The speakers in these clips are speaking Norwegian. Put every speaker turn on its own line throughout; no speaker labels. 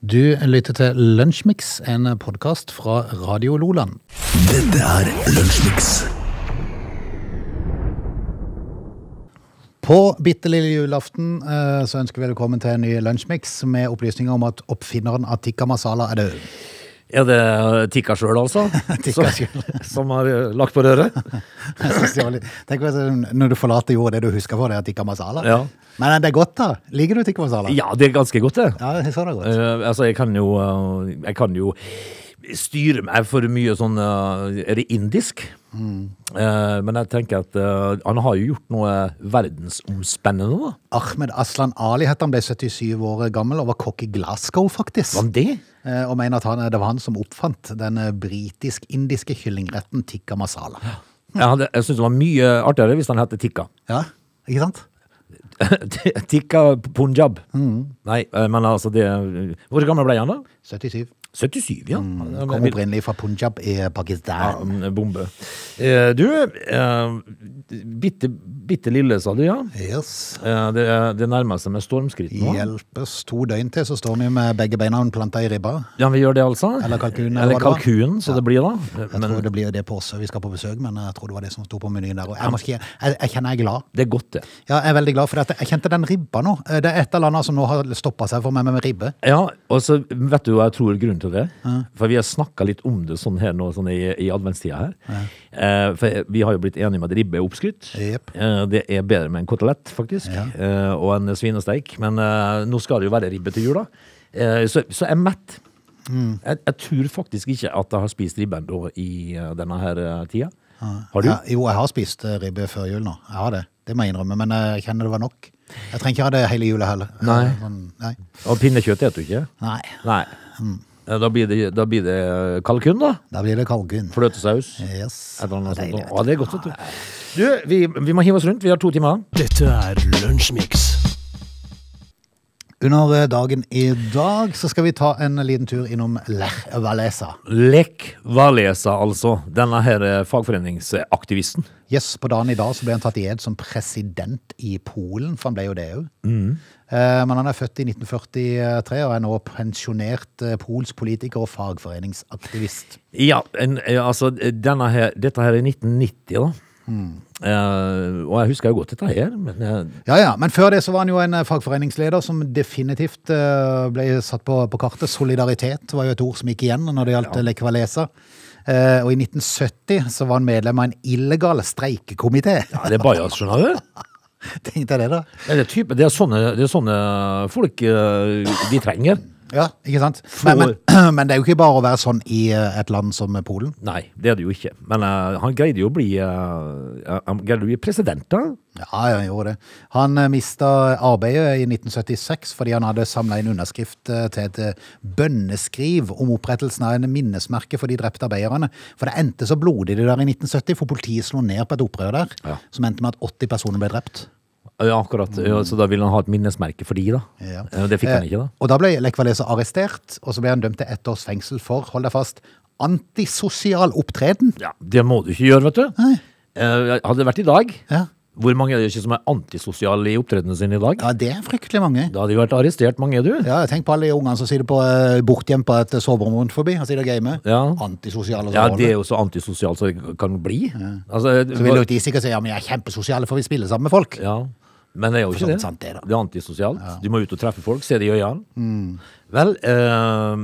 Du lytter til Lunsjmix, en podkast fra Radio Loland.
Dette er Lunsjmix.
På bitte lille julaften eh, så ønsker vi velkommen til en ny Lunsjmix med opplysninger om at oppfinneren av tikka masala er død.
Ja, det er Tikka sjøl, altså.
Tikka
som- Som har eh, lagt på røret.
Jeg synes det var litt- Tenk hvis, eh, når du forlater jorda, det du husker på, det er tikka masala.
Ja.
Men eh, det er godt, da. Liker du tikka masala?
Ja, det er ganske godt, det.
Ja, jeg så det godt.
Eh, altså, jeg kan jo eh, Jeg kan jo styre meg for mye sånn eh, Er det indisk? Eh, men jeg tenker at eh, han har jo gjort noe verdensomspennende, da.
Ahmed Aslan Ali het han, ble 77 år gammel og var kokk i Glasgow, faktisk.
Var han det?
Eh, Og mener at han, det var han som oppfant den eh, britisk-indiske kyllingretten tikka masala.
Jeg, hadde- jeg syns det var mye artigere hvis han het Tikka.
Ja, ikke sant?
tikka Punjab. Nei, eh, men altså det Hvor gammel ble han, da?
77.
77, ja. Han- han-
Kom opprinnelig fra Punjab i Pakistan.
Ja, bombe. Eh, du, eh, bitte, bitte lille, sa du, ja.
Yes.
Eh, det, er- det nærmer seg med stormskritt nå.
Hjelpes to døgn til, så står vi med begge beina planta i ribba.
Ja, vi gjør det altså.
Eller kalkun, eller
Eller
hva det var.
kalkun, så det blir da. Eh,
Jeg
Men
tror det blir jo det på Åsø vi skal på besøk, men jeg tror det var det som sto på menyen der. Og jeg, må si- jeg, jeg kjenner jeg er glad.
det er godt, det.
Ja, jeg er veldig glad for dette. Jeg kjente den ribba nå. Eh, Det er et eller annet som nå har stoppa seg for meg med, med ribbe.
Ja, og så vet du hva jeg tror er grunnen til det? For vi har snakka litt om det sånn her nå sånn i, i adventstida her. Eh, for vi har jo blitt enige om at ribbe er oppskrytt.
Jep.
Eh, det er bedre med en kotelett, faktisk. Eh, og en svinesteik. Men eh, nå skal det jo være ribbe til jul, da. Eh, så, så jeg er mett.
Mm.
Jeg, jeg tror faktisk ikke at jeg har spist ribbe ennå i eh, denne her eh, tida. Har du?
Ja, jo, jeg har spist eh, ribbe før jul nå. Jeg har det. Det må jeg innrømme, men eh, jeg kjenner det var nok. Jeg trenger ikke ha det hele jula heller.
Nei.
Eh, sånn, Nei.
Og pinnekjøtt spiser du ikke?
Nei.
Nei.
Mm.
Eh, Da blir, det, da blir det kalkun, da.
Da blir det kalkun.
Fløtesaus.
Yes.
Et eller annet sånt.
Deilig, vet du.
Å, det er godt, vet du. Du, vi, vi må hive oss rundt. Vi har to timer.
Dette er Lunsjmix.
Under eh, dagen i dag så skal vi ta en liten tur innom Lech Walesa.
Lek Valesa, altså. Denne her eh, fagforeningsaktivisten.
Yes, på dagen i dag så ble han tatt i ed som president i Polen, for han ble jo det òg.
Mm.
Eh, Men han er født i 1943 og er nå pensjonert eh, polsk politiker og fagforeningsaktivist.
Ja, en, eh, altså denne her, dette her er 1990, da.
Hmm.
Eh, og jeg husker jo godt dette her, men eh,
Ja, ja, Men før det så var han jo en eh, fagforeningsleder som definitivt eh, ble satt på, på kartet. Solidaritet var jo et ord som gikk igjen når det gjaldt ja. Lech Walesa. Eh, Og i 1970 så var han medlem av en illegal streikekomité.
ja, det er bajas, skjønner du.
Tenkte jeg det, da.
Det er, type, det er, sånne, det er sånne folk eh, de trenger.
Ja, ikke sant? Men, men, men det er jo ikke bare å være sånn i eh, et land som Polen.
Nei, det er det jo ikke. Men eh, han greide jo å bli, eh, han greide å bli president, da.
Ja, ja, han gjorde det. Han eh, mista arbeidet i 1976 fordi han hadde samla inn underskrift eh, til et eh, bønneskriv om opprettelsen av en minnesmerke for de drepte arbeiderne. For det endte så blodig det der i 1970, for politiet slo ned på et opprør der
Ja.
som endte med at 80 personer ble drept.
Ja, akkurat. Ja, så da ville han ha et minnesmerke for de, da.
Hmm. Ja.
Eh, Det fikk han
Eh,
ikke, da.
Og da ble Lech Walesa arrestert, og så ble han dømt til ett års fengsel for, hold deg fast, antisosial opptreden.
Ja, Det må du ikke gjøre, vet du.
Nei.
Eh, hadde det vært i dag,
Ja.
hvor mange er det ikke som er antisosiale i opptredenen sin i dag?
Ja, det er fryktelig mange.
Da hadde de vært arrestert, mange, du.
Ja, tenk på alle de ungene som sitter på, eh, bortgjemt på et soverom rundt forbi og sitter og gamer.
Ja.
Antisosiale
Ja, det
forhold.
er jo så antisosialt som det kan bli. Altså,
Så vil jo ikke de sikkert si ja, men jeg er kjempesosiale, for vi spiller sammen med folk.
ja. Men det er jo
så
ikke
vidt
det.
sånn sant det, da. Mm.
det er antisosialt. Du må ut og treffe folk, se det i øynene. Vel, eh,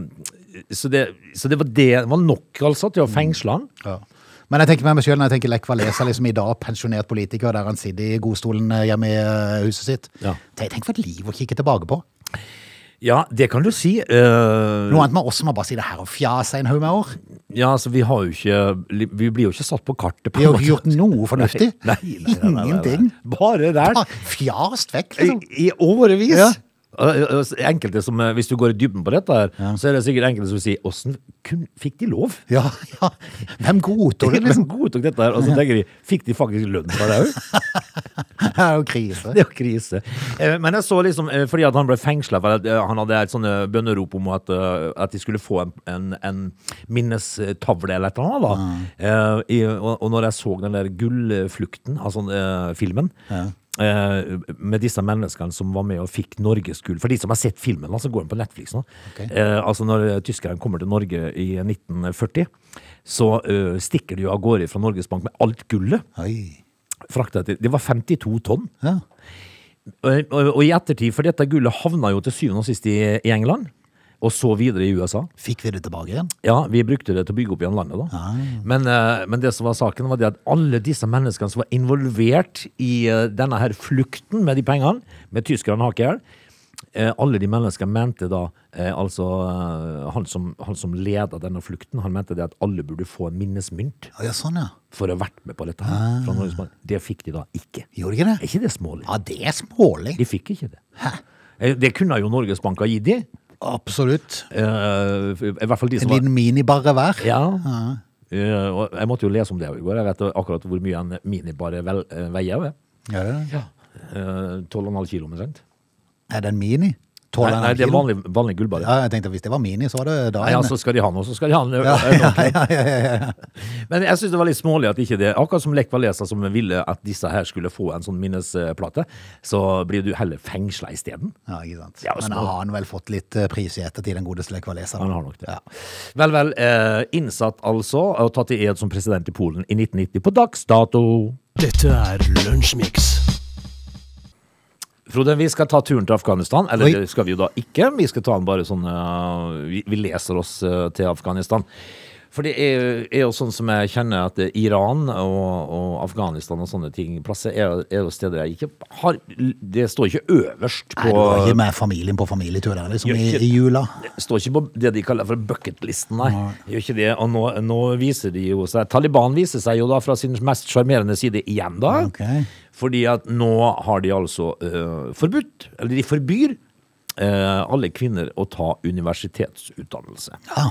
så, det, så det var det det var nok, altså,
Mm.
til å fengsle han.
Ja. Men jeg tenker med meg selv når jeg tenker Lech Walesa liksom i dag, pensjonert politiker, der han sitter i godstolen eh, hjemme i eh, huset sitt.
Ja.
Tenk, tenk for et liv å kikke tilbake på.
Ja, det kan du si. eh,
Noe annet med oss som har bare sittet her og fjasa i en haug med år.
ja, altså, vi har jo ikke Vi blir jo ikke satt på kartet, på
Vi
en
har
måte.
ikke gjort noe fornuftig.
Nei, nei, nei, nei, nei, nei.
Ingenting.
Bare der.
Bare Fjast vekk,
I,
liksom.
i årevis.
Ja.
Og- og- og Enkelte som, eh, Hvis du går i dybden på dette, her, så er det sikkert enkelte som sier Åssen kun- fikk de lov?
Ja, ja. Hvem godtok det,
Hvem
liksom?
godtok dette her? Og så tenker de Fikk de faktisk lønn for det òg?
Det er jo krise.
Det er jo krise. Eh, Men jeg så liksom eh, Fordi at han ble fengsla for at eh, han hadde et sånne bønnerop om at, eh, at de skulle få en, en, en minnestavle eller et eller annet. da Eh, i, og, og når jeg så den der Gullflukten, altså eh, filmen eh, med disse menneskene som var med og fikk norgesgull. For de som har sett filmen, altså går den på Netflix nå.
Ok.
Eh, altså Når eh, tyskerne kommer til Norge i 1940, så eh, stikker de jo av gårde fra Norges Bank med alt gullet.
Oi.
fraktet etter. Det var 52 tonn.
Ja.
Og, og, og i ettertid, for dette gullet havna jo til syvende og sist i, i England, og så videre i USA.
Fikk vi det tilbake igjen?
Ja, vi brukte det til å bygge opp igjen landet, da. Men, eh, men det som var saken, var det at alle disse menneskene som var involvert i eh, denne her flukten med de pengene, med tyskerne hakk i hjel, eh, alle de menneskene mente da eh, Altså, eh, han som, han som leda denne flukten, han mente det at alle burde få en minnesmynt
Å, ja, sånn, ja.
for å ha vært med på dette. her fra Norges Bank. Det fikk de da ikke.
Gjorde ikke
Er
det?
ikke det smålig?
Ja, det er smålig.
De fikk ikke det. Eh, Det kunne jo Norges Bank ha gitt de.
Absolutt.
Eh, I hvert fall de
En
som var
liten minibarre hver.
ja. Eh, og jeg måtte jo lese om det i går. Jeg vet akkurat hvor mye en minibare vel, eh, veier. jeg.
Ja, det er det.
Eh, 12,5 kilo omtrent.
Er det en mini?
Nei,
12,5
nei, det er
kilo?
vanlig, vanlig gullbare.
Ja, jeg tenkte hvis det var mini, så var det da
Nei,
en.
ja, så skal de ha noe, så skal de ha noe. Men jeg syns det var litt smålig at ikke det Akkurat som Lech Walesa, som ville at disse her skulle få en sånn minnesplate, så blir du heller fengsla isteden.
Ja, ikke sant.
Ja,
Men
små.
har han vel fått litt eh, pris i ettertid, den godeste lekvaleseren?
Han har nok det.
Ja.
Vel, vel. Eh, innsatt altså, og tatt i ed som president i Polen i 1990 på dags dato.
Dette er Lunsjmix.
Frode, vi skal ta turen til Afghanistan. Eller
Oi.
det skal vi jo da ikke. Vi skal ta den bare sånn eh, vi, vi leser oss eh, til Afghanistan. For det er, er jo sånn som jeg kjenner at eh, Iran og, og Afghanistan og sånne ting plasser er, er jo steder jeg ikke har Det står ikke øverst
Nei, du var
på
ikke med familien på familietur der, liksom,
Gjør
i,
ikke-
i jula?
står ikke på det de kaller for bucketlisten, nei. Gjør ikke det. Og nå, nå viser de jo seg Taliban viser seg jo da fra sin mest sjarmerende side igjen, da.
Ok.
Fordi at nå har de altså eh, forbudt, eller de forbyr, eh, alle kvinner å ta universitetsutdannelse.
Ja.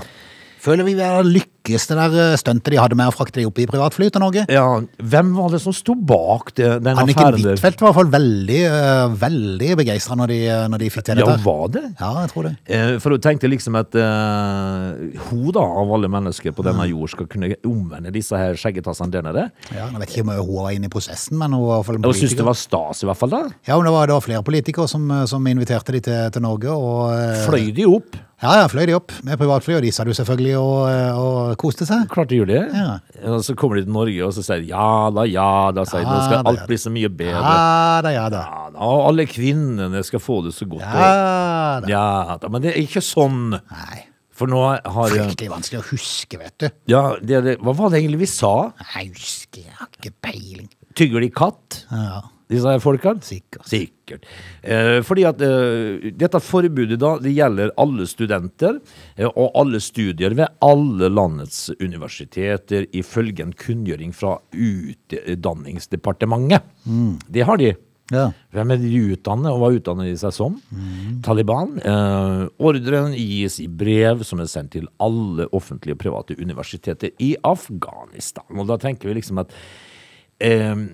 Føler vi vi har lykkes det der eh, stuntet de hadde med å frakte de opp i privatfly til Norge?
Ja, hvem var det som sto bak det, den
Anniken
affæren der?
Huitfeldt var i hvert fall veldig, eh, veldig begeistra når, de, eh, når de fikk til
Ja,
dette.
var det?
Ja, jeg tror det.
Eh, For hun tenkte liksom at eh, hun da, av alle mennesker på denne jord, skal kunne omvende disse her skjeggetassene der nede.
Ja, jeg vet ikke om hun var inne i prosessen, men hun var i hvert fall en
Og syntes
politiker.
det var stas, i hvert fall. da.
Ja, men det var, det var flere politikere som, eh, som inviterte de til, til Norge, og eh,
Fløy de opp?
Ja, ja, fløy de opp med privatfly, og de sa du selvfølgelig, og, eh, og koste seg.
Klart de gjør det.
Ja.
Og så kommer de til Norge og så sier de, ja da, ja da, sier de. Nå
Ja
skal
da,
alt
ja
bli så mye bedre.
Ja da, ja da.
Ja, da, og alle kvinnene skal få det så godt. og-
Ja da.
ja da. Men det er ikke sånn.
Nei,
For nå har
fryktelig vanskelig å huske, vet du.
Ja, det, det, hva var det egentlig vi sa?
Nei, jeg husker, jeg har ikke peiling.
Tygger de katt?
Ja,
Disse her folkene?
sikkert.
Sikkert. Eh, fordi at eh, dette forbudet da, det gjelder alle studenter eh, og alle studier ved alle landets universiteter ifølge en kunngjøring fra Utdanningsdepartementet. Det har de.
Ja.
Hvem er de de utdanner, og hva utdanner de seg som?
Mm.
Taliban. Eh, ordren gis i brev som er sendt til alle offentlige og private universiteter i Afghanistan. Og da tenker vi liksom at eh,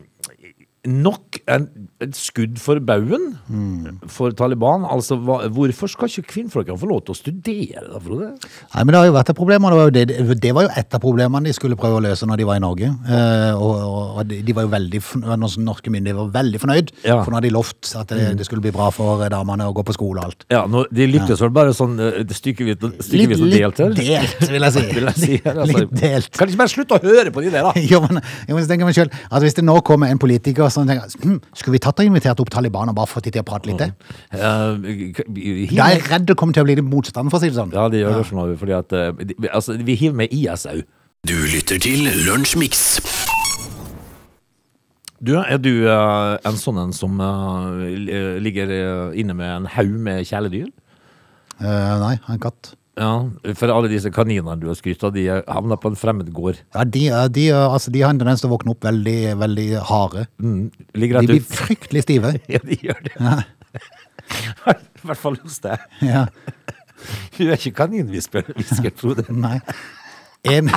nok en, et skudd for baugen
Mm.
for Taliban. Altså, hva, hvorfor skal ikke kvinnfolkene få lov til å studere, da, Frode?
Nei, men det har jo vært et problem, og det var jo, det, det var jo et av problemene de skulle prøve å løse når de var i Norge. Eh, og, og, og de- de var jo veldig, forn- altså, norske myndigheter var veldig fornøyd,
Ja.
for nå hadde de lovt at det, det skulle bli bra for eh, damene å gå på skole og alt.
Ja, nå, De lyktes vel bare sånn eh, stykkevis stykkevis og
litt
delt her?
delt, vil jeg si.
Vil jeg si, altså.
Litt delt.
Kan de ikke bare slutte å høre på de der, da?
Jo, men, jo, men så tenker jeg meg selv, at Hvis det nå kommer en politiker som tenker hm, skulle vi tatt og invitert opp Taliban og bare fått de til å prate litt
Mm.
til?
Eh, k- hiv
Da er
med-
jeg redd det kommer til å bli litt motstand, for å si det sånn.
Ja, det gjør det for noe, fordi at eh, de- altså, Vi hiver med IS òg.
Du lytter til Lunsjmix.
Du, er du eh, en sånn en som eh, li- ligger eh, inne med en haug med kjæledyr?
Eh, nei, en katt.
Ja, for alle disse kaninene du har skrytt av, de eh, havner på en fremmed gård.
Ja, de, eh, de, eh, altså, de har en tendens til å våkne opp veldig, veldig harde.
Mm,
De
ligger rett
blir
ut.
fryktelig stive.
Ja, de gjør det. I hvert fall hos deg.
Ja,
Hun er ikke kaninhvisker, hvisker, Frode.
nei. En,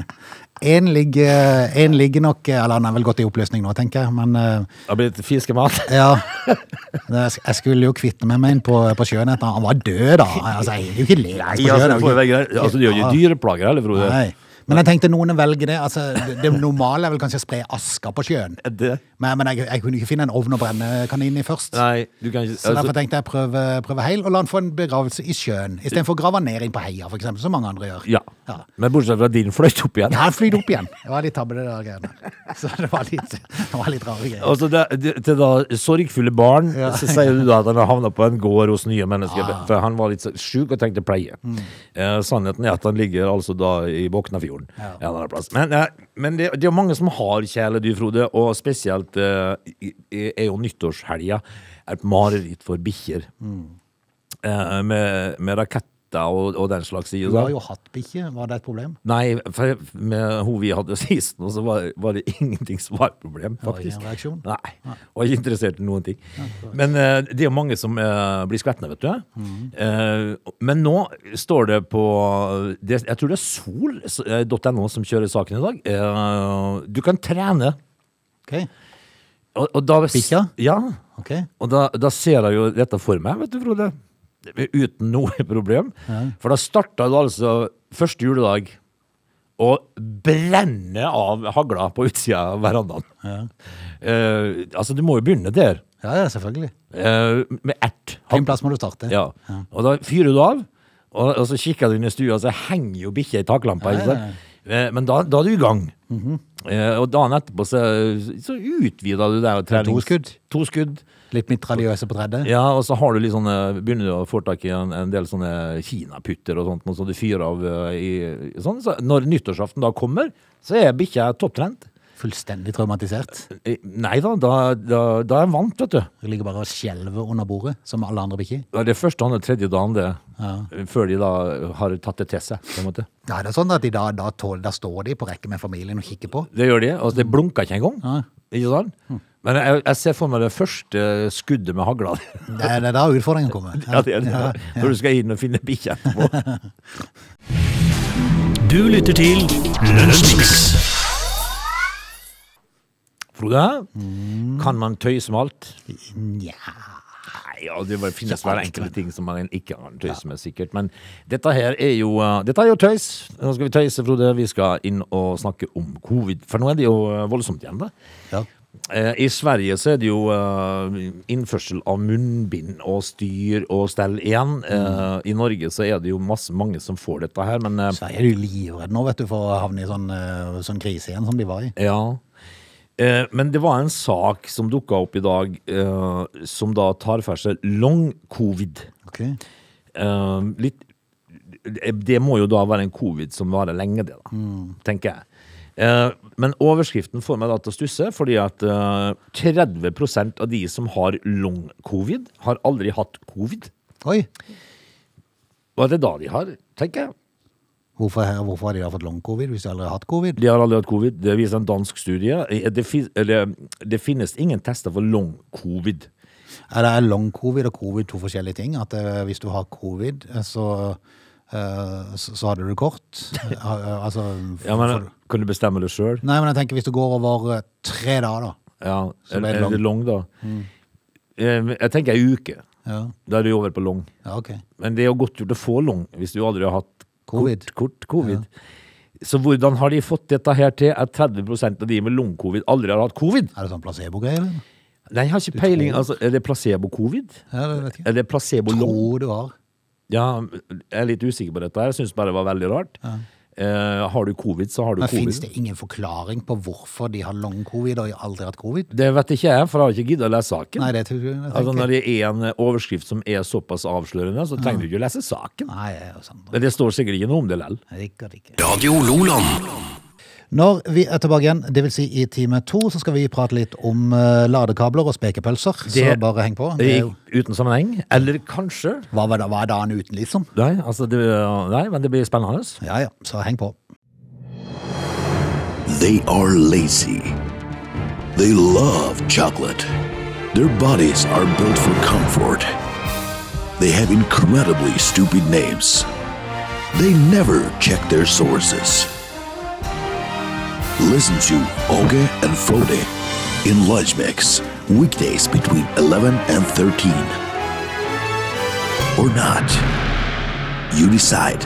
en, ligger, en ligger nok Eller han er vel gått i oppløsning nå, tenker jeg. Men eh,
Har blitt fiskemat.
ja Jeg jeg skulle jo kvitte meg med en på, på sjøen etter han var død, da. Altså, jeg er jo ikke levende på sjøen.
Altså, du gjør ikke dyreplager heller, Frode.
Nei. Men jeg tenkte noen velger det. Altså, det- det normale er vel kanskje å spre aska på sjøen.
Det?
Men, men jeg, jeg kunne ikke finne en ovn å brenne kaninen i først.
Nei, du kan ikke
Så derfor
altså,
tenkte jeg prøve, prøve heil, og la han få en begravelse i sjøen. Istedenfor å grave han ned inn på heia, for eksempel, som mange andre gjør.
ja.
Ja.
Men bortsett fra at din fløyt opp igjen.
Ja, han flydde opp igjen. Det var litt tabbe, det der greiene. Så det var litt, det var litt rare greier.
Altså, det, det, til da sorgfulle barn så sier du da at han har havna på en gård hos nye mennesker. For han var litt så sjuk og trengte pleie. Eh, sannheten er at han ligger altså da i Boknafjorden.
Ja.
En eller annen plass. Men, eh, men det, det er mange som har kjæledyr, Frode, og spesielt eh, i- i- er jo nyttårshelga et mareritt for bikkjer. Eh, med, med raketter og, og den slags. i,
Du
da.
har jo hatt bikkje, var det et problem?
Nei, for med hun vi hadde sist nå, så var, var det ingenting som var et problem,
var
faktisk.
ingen reaksjon?
Nei, var ikke interessert i noen ting. Men eh, det er jo mange som eh, blir skvettende, vet du. Eh, men nå står det på det, Jeg tror det er eh, sol.no som kjører saken i dag. Eh, du kan trene.
Ok,
Og, og da,
Bikkja?
Ja.
ok.
Og da, da ser jeg jo dette for meg, vet du, Frode. Uten noe problem. For da starta det altså første juledag å brenne av hagla på utsida av verandaen. Eh, altså, du må jo begynne der.
Ja, ja, selvfølgelig.
eh, med ert.
En plass må du starte.
Ja. Og da fyrer du av, og, og så kikker du inn i stua, så henger jo bikkja i taklampa. ikke sant? Eh, Men da, da er du i gang.
Mhm.
Eh, Og dagen etterpå så, så utvider du det.
To skudd.
To skudd.
Litt mitraljøse på tredje.
Ja, og så har du litt sånne, begynner du å få tak i en, en del sånne kinaputter og sånt, noe som du fyrer av eh, i, sånn. Så når nyttårsaften da kommer, så er bikkja topptrent.
Fullstendig traumatisert.
Eh, Nei da, da, da, da er han vant, vet du.
Det ligger bare og skjelver under bordet, som alle andre bikkjer.
Det er det første, andre, tredje dagen det,
Ja.
før de da har tatt det til seg, på en måte.
Ja, det er sånn at de da, da, tål, da står de på rekke med familien og kikker på.
Det gjør de. Altså, det blunker ikke engang. Ikke sant? Men jeg, jeg ser for meg det første skuddet med hagla.
Det er, det er da utfordringen kommer.
Ja, det er det. Når du skal inn og finne bikkja etterpå.
Du lytter til Lunsjmix.
Frode, kan man tøyse med alt?
Nja.
Nei, ja, det var- finnes
Ikke
vel
alt,
enkelte
men-
ting som man ikke kan tøyse med, sikkert. Men dette her er jo, eh, dette er jo tøys. Nå skal vi tøyse, Frode. Vi skal inn og snakke om covid. For nå er det jo eh, voldsomt igjen, da.
Ja.
Eh, I Sverige så er det jo eh, innførsel av munnbind og styr og stell igjen. Eh, I Norge så er det jo masse, mange som får dette her, men eh,
Så er de livredde nå, vet du, for å havne i sånn, eh, sånn krise igjen som de var i.
Ja. Eh, Men det var en sak som dukka opp i dag, eh, som da tar for seg long covid.
Ok.
Eh, Litt Det må jo da være en covid som varer lenge, det, da. Tenker jeg. Eh, Men overskriften får meg da til å stusse, fordi at eh, 30 av de som har long covid, har aldri hatt covid.
Oi,
Hva er det da de har, tenker jeg?
hvorfor, hvorfor har de da fått long covid hvis de aldri har hatt covid?
De har aldri hatt covid. Det viser en dansk studie. Eh, Det, fin eller, det finnes ingen tester for long covid.
Er det long covid og covid to forskjellige ting? At eh, hvis du har covid, eh, så, eh, så, så hadde du det kort? Eh, eh, altså, f-
Ja, men
for-
Kan du bestemme det sjøl?
Nei, men jeg tenker hvis du går over eh, tre dager, da.
Ja.
Så
Er,
det er Mm.
er det long, da? Eh, Jeg tenker ei uke.
Ja,
Da er du over på long.
ja ok.
Men det er jo godt gjort å få long hvis du aldri har hatt
Covid.
kort, kort covid. Så hvordan har de fått dette her til at 30 av de med long-covid aldri har hatt covid?
Er det sånn placebo-greie? eller?
Nei, jeg har ikke peiling. Altså, er det placebo-covid?
Ja, det vet jeg ikke.
Er det placebo-long?
Tror du har.
Ja, jeg er litt usikker på dette her. Jeg syns bare det var veldig rart. Eh, har du covid, så har du
Men
covid.
Finnes det ingen forklaring på hvorfor de har long covid og aldri hatt covid?
Det vet ikke jeg, for jeg har ikke giddet å lese saken.
Nei, det tror jeg jeg
Altså,
tenker.
når det er en overskrift som er såpass avslørende, så trenger du ikke å lese saken.
Nei, det er jo sant.
Men det står sikkert ikke noe om det lell.
Sikkert ikke.
Radio Loland.
Når vi er tilbake igjen, dvs. Si i time to, så skal vi prate litt om eh, ladekabler og spekepølser. så
Det-
bare heng på. Det er jo,
Uten sammenheng. Eller kanskje.
hva, var da, hva er dagen uten, liksom?
Nei, altså det, nei, men det blir spennende.
Ja ja, så heng på.
They are lazy. They love chocolate. Their bodies are built for comfort. They have incredibly stupid names. They never check their sources. Listen to Oge and Frode in Lunch Mix, weekdays between 11 and 13. Or not. You decide.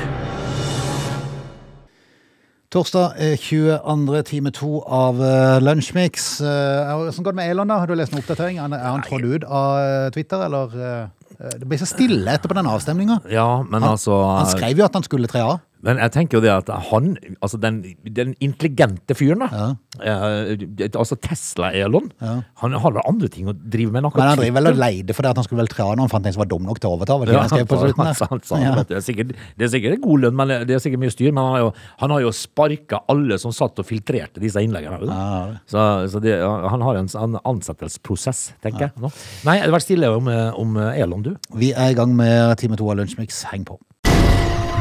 Torsdag eh, 22. time to av eh, Lunsjmix. Eh, Hvordan går det med Elon, da? Har du lest noen oppdatering? Er er han trådt ut av eh, Twitter, eller? eh, eh, Det ble så stille etterpå den avstemninga.
Ja, men
Han,
altså
han skrev jo at han skulle tre av.
Men jeg tenker jo det at han, altså den, den intelligente fyren da, eh, altså Tesla-Elon, han har vel andre ting å drive med. enn akkurat
Men han driver vel og
Twitter.
leide for det at han skulle vel tre av når han fant en som var dum nok til å overta. Vel,
Ja,
han skrev på
for-
slutten
altså, han sa
der. Ja.
at det, er sikkert, det er sikkert en god lønn, men det er sikkert mye styr. Men han har jo, han har jo sparka alle som satt og filtrerte disse innleggene. vet du. Så, så det, han har en, sånn ansettelsesprosess, tenker jeg. Nå. Nei, det har vært stille om, eh, om Elon, du.
Vi er i gang med time to av Lunsjmix. Heng på.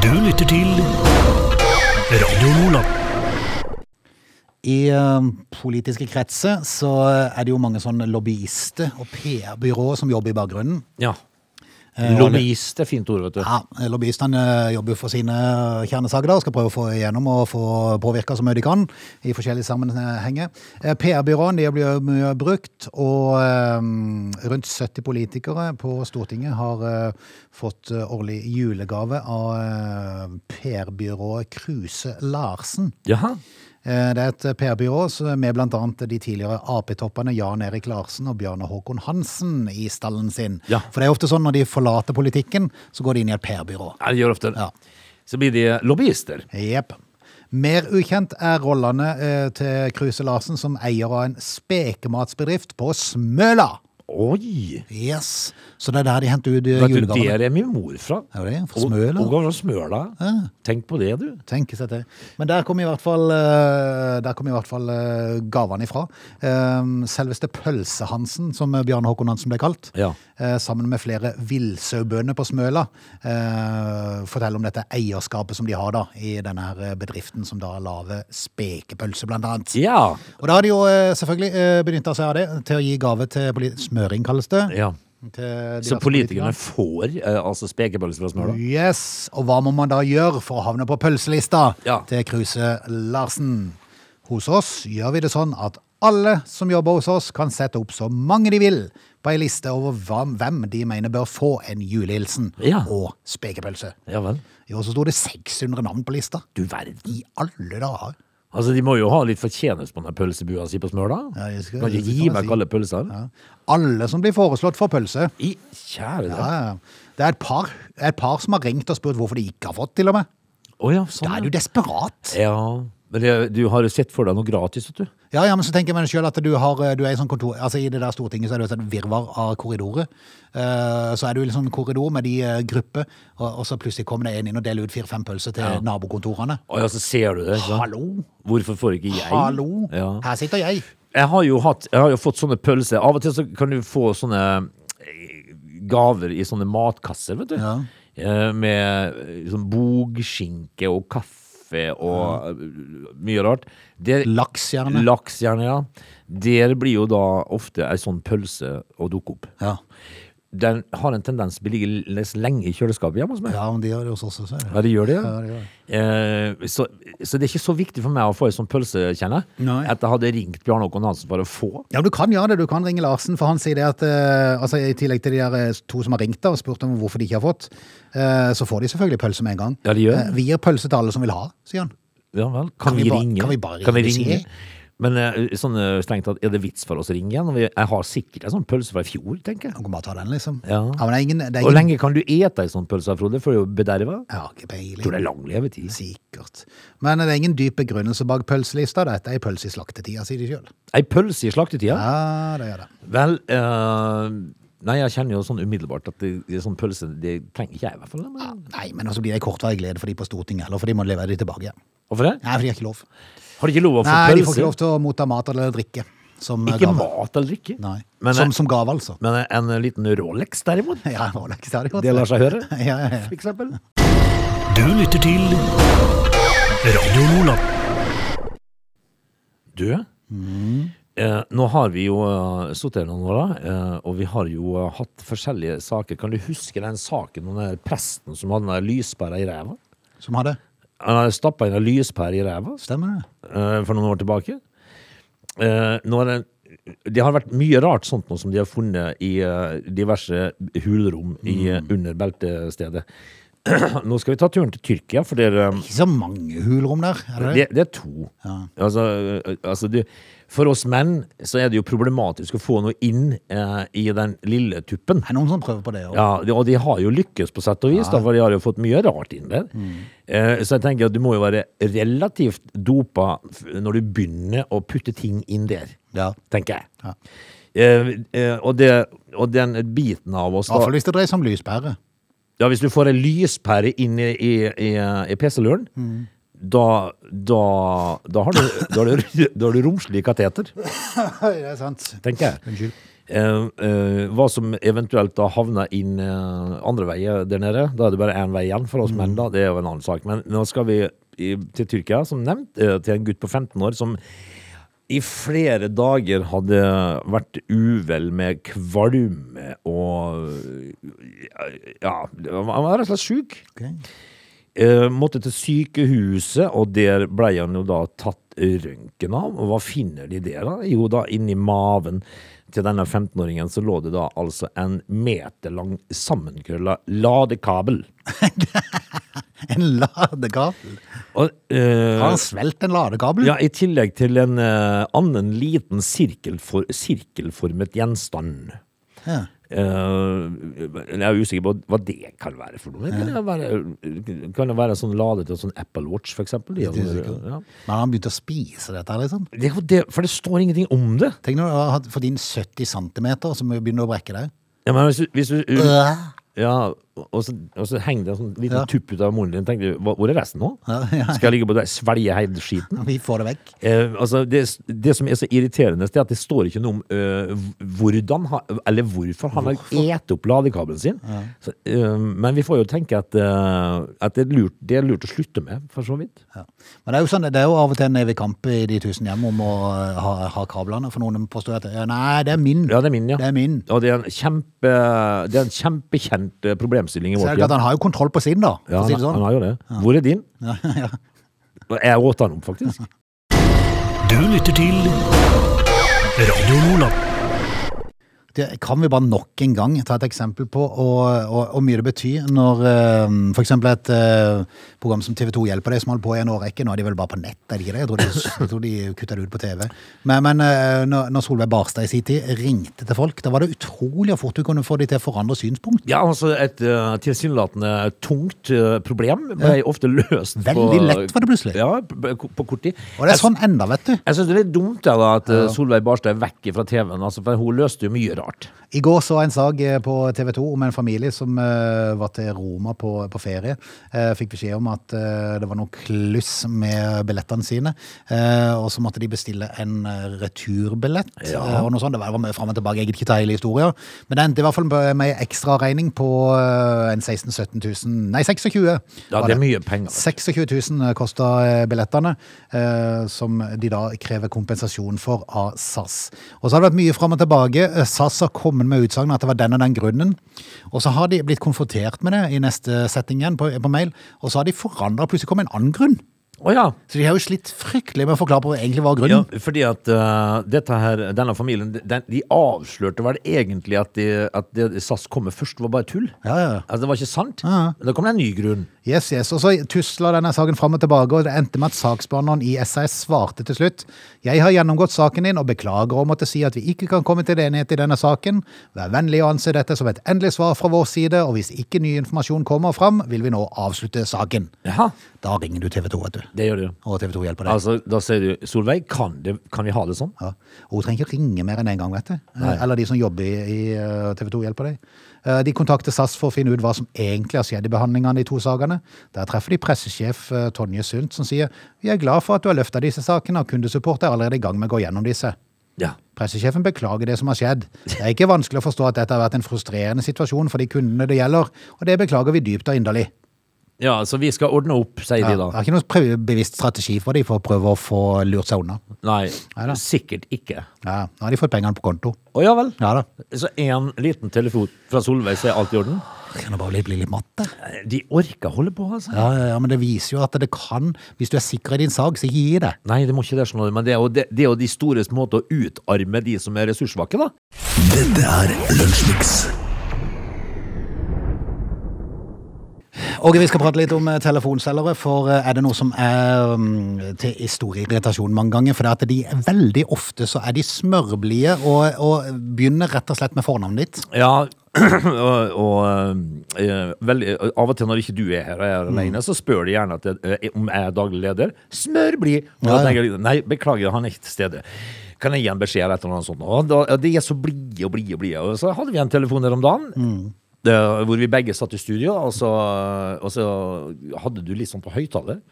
Du lytter til Radio Nordland.
I eh, politiske kretser så er det jo mange sånne lobbyister og PR-byråer som jobber i bakgrunnen.
Ja.
Eh,
Lobbyist er fint ord, vet du.
Ja, Lobbyistene eh, jobber jo for sine eh, kjernesaker da, og skal prøve å få igjennom og få påvirka så mye de kan i forskjellige sammenhenger. Eh, PR-byråene de blir jo mye brukt, og eh, rundt 70 politikere på Stortinget har eh, fått eh, årlig julegave av eh, PR-byrået Kruse Larsen.
Jaha.
Eh, Det er et PR-byrå som- med bl.a. de tidligere Ap-toppene Jan Erik Larsen og Bjarne Håkon Hansen i stallen sin.
Ja.
For det er ofte sånn når de forlater politikken, så går de inn i et PR-byrå.
Ja, det gjør ofte det.
Ja.
Så blir de lobbyister.
Jepp. Mer ukjent er rollene eh, til Kruse Larsen som eier av en spekematsbedrift på Smøla.
Oi!
Yes. Så det er der de henter ut eh,
Vet du,
julegavene.
der er min mor fra.
Er det? Fra
Og-
Smøla?
Og gamle Smøla. Tenk på det, du.
Tenke seg til. Men der kom i hvert fall, eh, der kom i hvert fall eh, gavene ifra. Eh, Selveste Pølse-Hansen, som eh, Bjarne Håkon Hansen ble kalt,
Ja.
eh, sammen med flere villsaubønder på Smøla, eh, forteller om dette eierskapet som de har da, i denne her eh, bedriften som da lager spekepølse, blant annet.
Ja.
Og da har de jo eh, selvfølgelig benytta seg av det til å gi gave til poli- Smøring, kalles det.
ja.
til
Så
diverse
politikerne får eh, altså spekepølse fra Smøla?
Yes, og hva må man da gjøre for å havne på pølselista
Ja.
til Kruse Larsen? Hos oss gjør vi det sånn at alle som jobber hos oss kan sette opp så mange de vil på ei liste over hva- hvem de mener bør få en julehilsen
Ja.
og spekepølse.
Ja vel.
Jo, så sto det 600 navn på lista.
Du verden.
I alle dager.
Altså, De må jo ha litt fortjeneste på den pølsebua si på Smøla.
Ja, det skal-
kan
det
ikke
kan
gi
man si.
vekk alle pølser.
Ja. Alle som blir foreslått for pølse.
I kjære
Ja,
deg.
ja. Det er et par, et par som har ringt og spurt hvorfor de ikke har fått, til og med.
Å ja,
Da
sånn.
er du desperat.
ja. Men det, du har jo sett for deg noe gratis, vet du.
Ja, ja, men så tenker jeg meg selv at du, har, du er i sånn kontor, altså i det der Stortinget så er det jo et virvar av korridorer. Eh, så er du i en sånn korridor med de eh, grupper, og, og så plutselig kommer det en inn og deler ut fire-fem pølser til nabokontorene.
Å ja, så ser du det. ikke sant?
Hallo?
Hvorfor får ikke jeg?
Hallo?
Ja.
Her sitter jeg.
Jeg har jo hatt, jeg har jo fått sånne pølser. Av og til så kan du få sånne eh, gaver i sånne matkasser, vet du.
Ja.
Eh, Med eh, sånn bogskinke og kaffe og eh, mye rart. Der,
Laks gjerne.
laks gjerne, ja. Der blir jo da ofte ei sånn pølse å dukke opp.
Ja.
Den har en tendens til å ligge l- lenge i kjøleskapet hjemme hos meg.
ja, men de gjør det hos oss også.
Ja, det gjør det.
Ja, det gjør
Eh, så, så det er ikke så viktig for meg å få ei sånn pølse, kjenner jeg.
Nei.
At jeg hadde ringt Bjarne Håkon Hansen for å få.
Ja, men du kan gjøre det. Du kan ringe Larsen, for han sier det at eh, altså, i tillegg til de der eh, to som har ringt da, og spurt om hvorfor de ikke har fått, eh, så får de selvfølgelig pølse med en gang.
Ja, de gjør.
Eh, vi gir pølse til alle som vil ha, sier han.
Ja vel. Kan, vi,
ba-
ringe?
kan vi bare
vi
ringe,
ringe?
sier jeg?
Men eh, sånn eh, strengt tatt, er det vits for oss å ringe igjen? Og vi- Jeg har sikkert en sånn pølse fra i fjor, tenker jeg.
Han kan bare ta den, liksom.
Ja.
men det er ingen... Det er
Hvor
ingen
lenge kan du ete ei sånn pølse, Frode? For det er jo bederva.
jeg har ikke peiling.
Tror det er lang levetid.
Sikkert. Men det er ingen dyp begrunnelse bak pølselista. Dette er ei pølse i slaktetida, sier de sjøl.
Ei pølse i slaktetida?
Ja, det gjør det.
Vel eh, Nei, jeg kjenner jo sånn umiddelbart at det, det er sånn pølse Det trenger ikke jeg, i hvert fall.
Ja,
Men,
nei, men også blir det kortvarig glede for de på Stortinget, eller for de må levere de tilbake igjen.
hvorfor det?
Nei, for de har ikke lov.
Har de ikke lov å få
Nei,
pølse?
de får ikke lov til å motta mat eller drikke som
Ikke
gave.
mat eller drikke?
Nei.
Men, eh,
som, som gave, altså.
men en liten Rolex, derimot?
Ja, det var da ikke særlig godt.
Det lar seg høre,
Ja, ja, ja.
for eksempel.
Du lytter til Radio Nordland.
Du, eh, nå har vi jo eh, sittet her noen år, da, eh, og vi har jo eh, hatt forskjellige saker. Kan du huske den saken om den der presten som hadde den der lyspæra i ræva?
Som hadde.
Han hadde stappa inn en lyspære i ræva
Stemmer det?
eh, for noen år tilbake. Eh, nå er det, det har vært mye rart sånt nå som de har funnet i eh, diverse hulrom i, under eh, beltestedet. Nå skal vi ta turen til Tyrkia, for eh, det er,
Ikke så mange hulrom der, er det det?
det, det er to. Altså, ø- altså det, for oss menn så er det jo problematisk å få noe inn eh, i den lille tuppen.
Det er noen som prøver på det òg.
Ja, de- og de har jo lykkes på sett og vis, da, for de har jo fått mye rart inn der. Eh, så jeg tenker at du må jo være relativt dopa f- når du begynner å putte ting inn der,
Ja.
tenker jeg. Eh, eh, og, det, og den biten av oss
I hvert
da,
fall hvis det dreier seg om lyspære.
ja, Hvis du får en lyspære inn i, i, i, i PC-luren, da, da, da, har du, da, har du, da har du romslig kateter,
det er sant.
tenker jeg.
Unnskyld.
Eh, eh, hva som eventuelt da havner inn eh, andre veier der nede, da er det bare én vei igjen for oss menn, da. Det er jo en annen sak. Men nå skal vi i, til Tyrkia, som nevnt, eh, til en gutt på 15 år som i flere dager hadde vært uvel med kvalme og Ja, han var rett og slett sjuk. Eh, måtte til sykehuset, og der ble han jo da tatt røntgen av. Og hva finner de der, da? Jo, da inni maven til denne 15-åringen så lå det da altså en meter lang sammenkrølla ladekabel.
En ladekabel?
Og, eh,
Har han svelget en ladekabel?
ja, I tillegg til en eh, annen liten sirkelfor, sirkelformet gjenstand.
Ja.
Eh, jeg er usikker på hva det kan være for noe. Kan det være, kan det være en sånn lade til en sånn Apple Watch, for eksempel? De har-
usikker.
Ja.
Men har han begynt å spise dette, liksom?
Det, er jo det, for det står ingenting om det.
Tenk når du har hatt- fått inn 70 cm, som begynner å brekke deg.
Ja, men hvis, du- hvis du
Øh.
Ja, og så, og så henger det en sånn liten
Ja.
tupp ut av munnen din. Tenker du, hva- hvor er resten nå?
Ja, ja.
Skal jeg ligge på det, svelge hele skiten?
Vi får det vekk.
Eh, altså det, det som er så irriterende, det er at det står ikke noe om eh, hvordan ha, eller hvorfor han har et opp ladekabelen sin. Så, eh, men vi får jo tenke at, eh, at det, er lurt, det er lurt å slutte med, for så vidt.
Ja. Men det er jo sånn, det er jo av og til en evig kamp i de tusen hjem om å eh, ha, ha kablene, for noen påstår at ja, nei, det er min.
Ja, det er min, ja.
Det er min.
Og det er en, kjempe, det er en kjempekjent eh, problemstilling i
Så
vårt
er det klart,
hjem.
han har jo kontroll på sin, da. For
Ja,
å si
han,
det sånn.
han har jo det. Hvor er din? Og Jeg åt den opp, faktisk.
Du lytter til Radio Nordland.
Det kan vi bare nok en gang ta et eksempel på og, og, og mye det betyr når eh, for eksempel et eh, program som TV 2 hjelper deg som holder på i en årrekke, nå er de vel bare på nett, er de ikke det? Jeg tror de, jeg tror de kutta det ut på TV. Men, men eh, når når Solveig Barstad i sin tid ringte til folk, da var det utrolig hvor fort du kunne få de til å forandre synspunkt.
Ja, altså et eh, tilsynelatende tungt eh, problem ble ofte løst
Veldig lett var det plutselig.
Ja, på, på kort tid.
Og det
Jeg-
er sånn enda, vet du.
Jeg syns det er litt dumt da, da, at eh, Solveig Barstad er vekk fra TV-en, altså, for hun løste jo mye rart.
I går så jeg en sag eh, på TV 2 om en familie som eh, var til Roma på, på ferie. Eh, fikk beskjed om at eh, det var noe kluss med billettene sine. eh, og så måtte de bestille en eh, returbillett. eh, og noe sånt. Det var det var mye fram og tilbake, jeg gidder ikke ta hele historien. Men det endte i hvert fall med en ekstraregning på eh, en 16 000-17 000 Nei, 26 000.
Ja,
var
det er mye penger.
26 000 kosta billettene, eh, som de da krever kompensasjon for av SAS. Og så har det vært mye fram og tilbake. Eh, SAS har kommet med utsagn at det var den og den grunnen. Og så har de blitt konfrontert med det i neste setting igjen på, på mail, og så har de forandra. Plutselig kom en annen grunn.
Å ja.
Så de har jo slitt fryktelig med å forklare på hva egentlig var
ja.
grunnen.
Fordi at eh, dette her, denne familien den, de avslørte vel egentlig at, de, at det SAS kommer først, var bare tull.
Ja, ja.
Altså, det var ikke sant.
Ja.
Men Da kom det en ny grunn.
Yes, yes. Og så tusla denne saken fram og tilbake, og det endte med at saksbehandleren i SAS svarte til slutt. Jeg har gjennomgått saken din og beklager å måtte si at vi ikke kan komme til enighet i denne saken. Vær vennlig å anse dette som et endelig svar fra vår side, og hvis ikke ny informasjon kommer fram, vil vi nå avslutte saken.
Jaha,
Da ringer du TV 2, vet du.
det gjør det.
Og TV 2 hjelper deg.
Altså, da sier du Solveig, kan, det, kan vi ha det sånn?
Ja. Og hun trenger ikke ringe mer enn én en gang, vet du. Eh, Eller de som jobber i, i TV 2 hjelper deg. Eh, De kontakter SAS for å finne ut hva som egentlig har skjedd i behandlingene i to sakene. Der treffer de pressesjef eh, Tonje Sundt, som sier Vi er glad for at du har løfta disse sakene, og kundesupport er allerede i gang med å gå gjennom disse.
Ja.
Pressesjefen beklager det som har skjedd. Det er ikke vanskelig å forstå at dette har vært en frustrerende situasjon for de kundene det gjelder, og det beklager vi dypt og inderlig.
ja, så vi skal ordne opp, sier
Ja,
de da.
det er ikke noen prøv- bevisst strategi for dem for å prøve å få lurt seg unna.
Nei,
Neida.
sikkert ikke.
Ja, nå har de fått pengene på konto.
Å ja vel.
Ja da.
Så én liten telefon fra Solveig, så er alt i orden?
Kan det bare bli litt matt, det?
De orker å holde på, altså.
Ja, ja, ja, men det viser jo at det kan Hvis du er sikker i din sak, så ikke gi det.
Nei, det må ikke det, skjønner du. Men det er jo, det, det er jo de stores måte å utarme de som er ressurssvake, da.
Dette er Lunsjmix.
Åge, vi skal prate litt om eh, telefonselgere, for eh, er det noe som er mm, til stor irritasjon mange ganger? For det at de er veldig ofte så er de smørblide og, og begynner rett og slett med fornavnet ditt.
Ja, og, og eh, veldig, av og til når ikke du er her og jeg er alene, så spør de gjerne at jeg, eh, om jeg er daglig leder. Smør bli! Og da
Ja, ja.
tenker jeg, Nei, beklager, han er ikke til stede. Kan jeg gi en beskjed eller et eller annet sånt? Og da, ja, de er så blide og blide og blide. Og så hadde vi en telefon her om dagen.
Mm.
Det, hvor vi begge satt i studio, og så, og så hadde du litt sånn på høyttaler.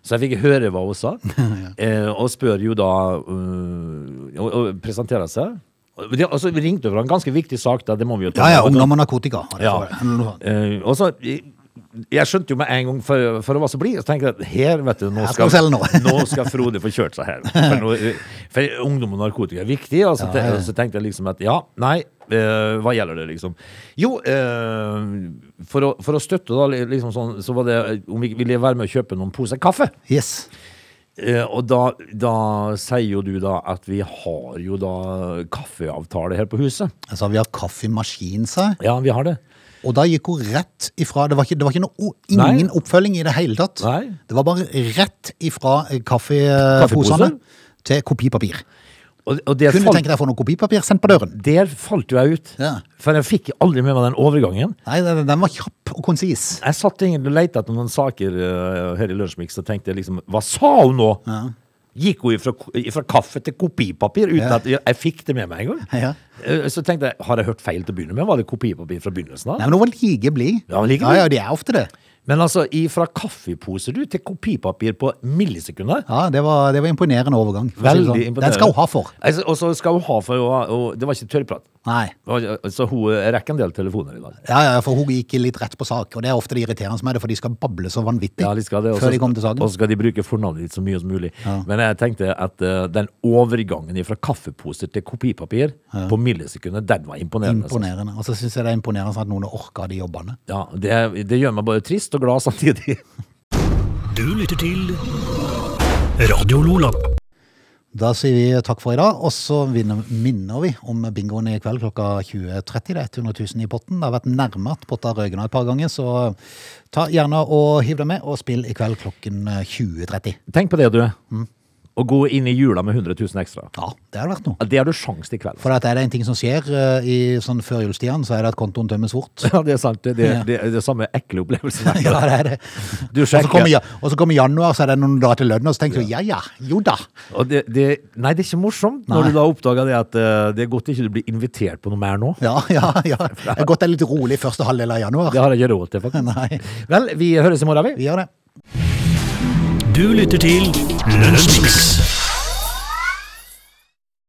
Så jeg fikk høre hva hun sa. eh, og spør jo da øh, og, og presenterer seg. Og de- og så ringte hun for en ganske viktig sak. Da, det må vi jo ta
Ja, ja,
med. Og da-
ungdom og narkotika. har det
Ja.
vært, eller noe sånt.
Eh, og så, jeg skjønte jo med en gang for, for å være så blid, så tenkte jeg at her, vet du, nå
Her skal
skal,
vi selge nå.
nå skal Frode få kjørt seg her. For, nå, eh, for ungdom og narkotika er viktig, og så, te-
Ja, ja.
og så tenkte jeg liksom at ja, nei, eh, hva gjelder det liksom? Jo, eh, for, å, for å støtte da, li- liksom sånn, så var det eh, om vi ville være med å kjøpe noen poser kaffe.
Yes.
Eh, og da, da sier jo du da at vi har jo da kaffeavtale her på huset.
Altså, vi har kaffemaskin, sa jeg.
Ja, vi har det.
Og da gikk hun rett ifra Det var, ikke, det var ikke noe, o- ingen
Nei.
oppfølging i det hele tatt.
Nei.
Det var bare rett ifra eh, kaffeposene
Kaffeposer?
til kopipapir.
Og, og det
Kunne du
falt-
tenke deg å få noe kopipapir sendt på døren?
Der falt jo jeg ut.
Ja.
For jeg fikk aldri med meg den overgangen.
Nei, den, den var kjapp og konsis.
Jeg satt egentlig og lette etter noen saker eh, her i Lunsjmix og tenkte jeg liksom Hva sa hun nå? Gikk hun fra, fra kaffe til kopipapir uten
Ja.
at jeg, jeg fikk det med meg engang?
Ja.
Eh, Så tenkte jeg, har jeg hørt feil til å begynne med? Var det kopipapir fra begynnelsen av?
Nei, men hun var like blid.
Ja, like
ja,
blid.
ja, de er ofte det.
Men altså, i- fra kaffeposer du til kopipapir på millisekunder?
Ja, det var, det var imponerende overgang. for å si det
Veldig
sånn.
imponerende.
Den skal hun ha for.
Altså, og så skal hun ha for å og Det var ikke tørrprat.
Nei.
Og- Så hun rekker en del telefoner i dag.
Ja, ja, for hun gikk litt rett på sak, og det er ofte det irriterende med det, for de skal bable så vanvittig
Ja, de skal det. og så-
før de kommer til
Og
saken.
så skal de bruke fornavnet ditt så mye som mulig.
Ja.
Men jeg tenkte at eh, den overgangen fra kaffeposer til kopipapir på millisekunder, den var imponerende. altså.
Imponerende. Og så syns jeg det er imponerende at noen orker de jobbene.
Ja, det, det gjør meg både trist og glad samtidig.
Du lytter til Radio Lola.
Da sier vi takk for i dag, og så vinner, minner vi om bingoen i kveld klokka 20.30. Det er 100 000 i potten. Det har vært nærme at potta røyken et par ganger, så ta gjerne og hiv deg med, og spill i kveld klokken 20.30.
Tenk på det, du.
Mm.
Å gå inn i jula med 100 000 ekstra.
Ja, det hadde vært noe.
Ja, Det har du sjans til i kveld.
For at er det en ting som skjer eh, i sånn førjulstiden, så er det at kontoen tømmes fort.
Ja, det er sant. Det, det, det, det er samme ekle opplevelsen.
Ja, det er det. Og
Du
så
sjekker.
kommer, ja- og så kommer januar, så er det noen dager til lønn, og så tenker du ja ja, jo da.
Og det, det, nei, det er ikke morsomt når
Nei.
du da oppdager det at eh, det er godt ikke du blir invitert på noe mer nå.
Ja, ja, ja. Det er godt det er litt rolig første halvdel av januar.
Det har jeg ikke råd til, faktisk.
Nei,
Vel, vi høres i morgen, vi.
vi gjør det.
Du lytter til Lunsjmix.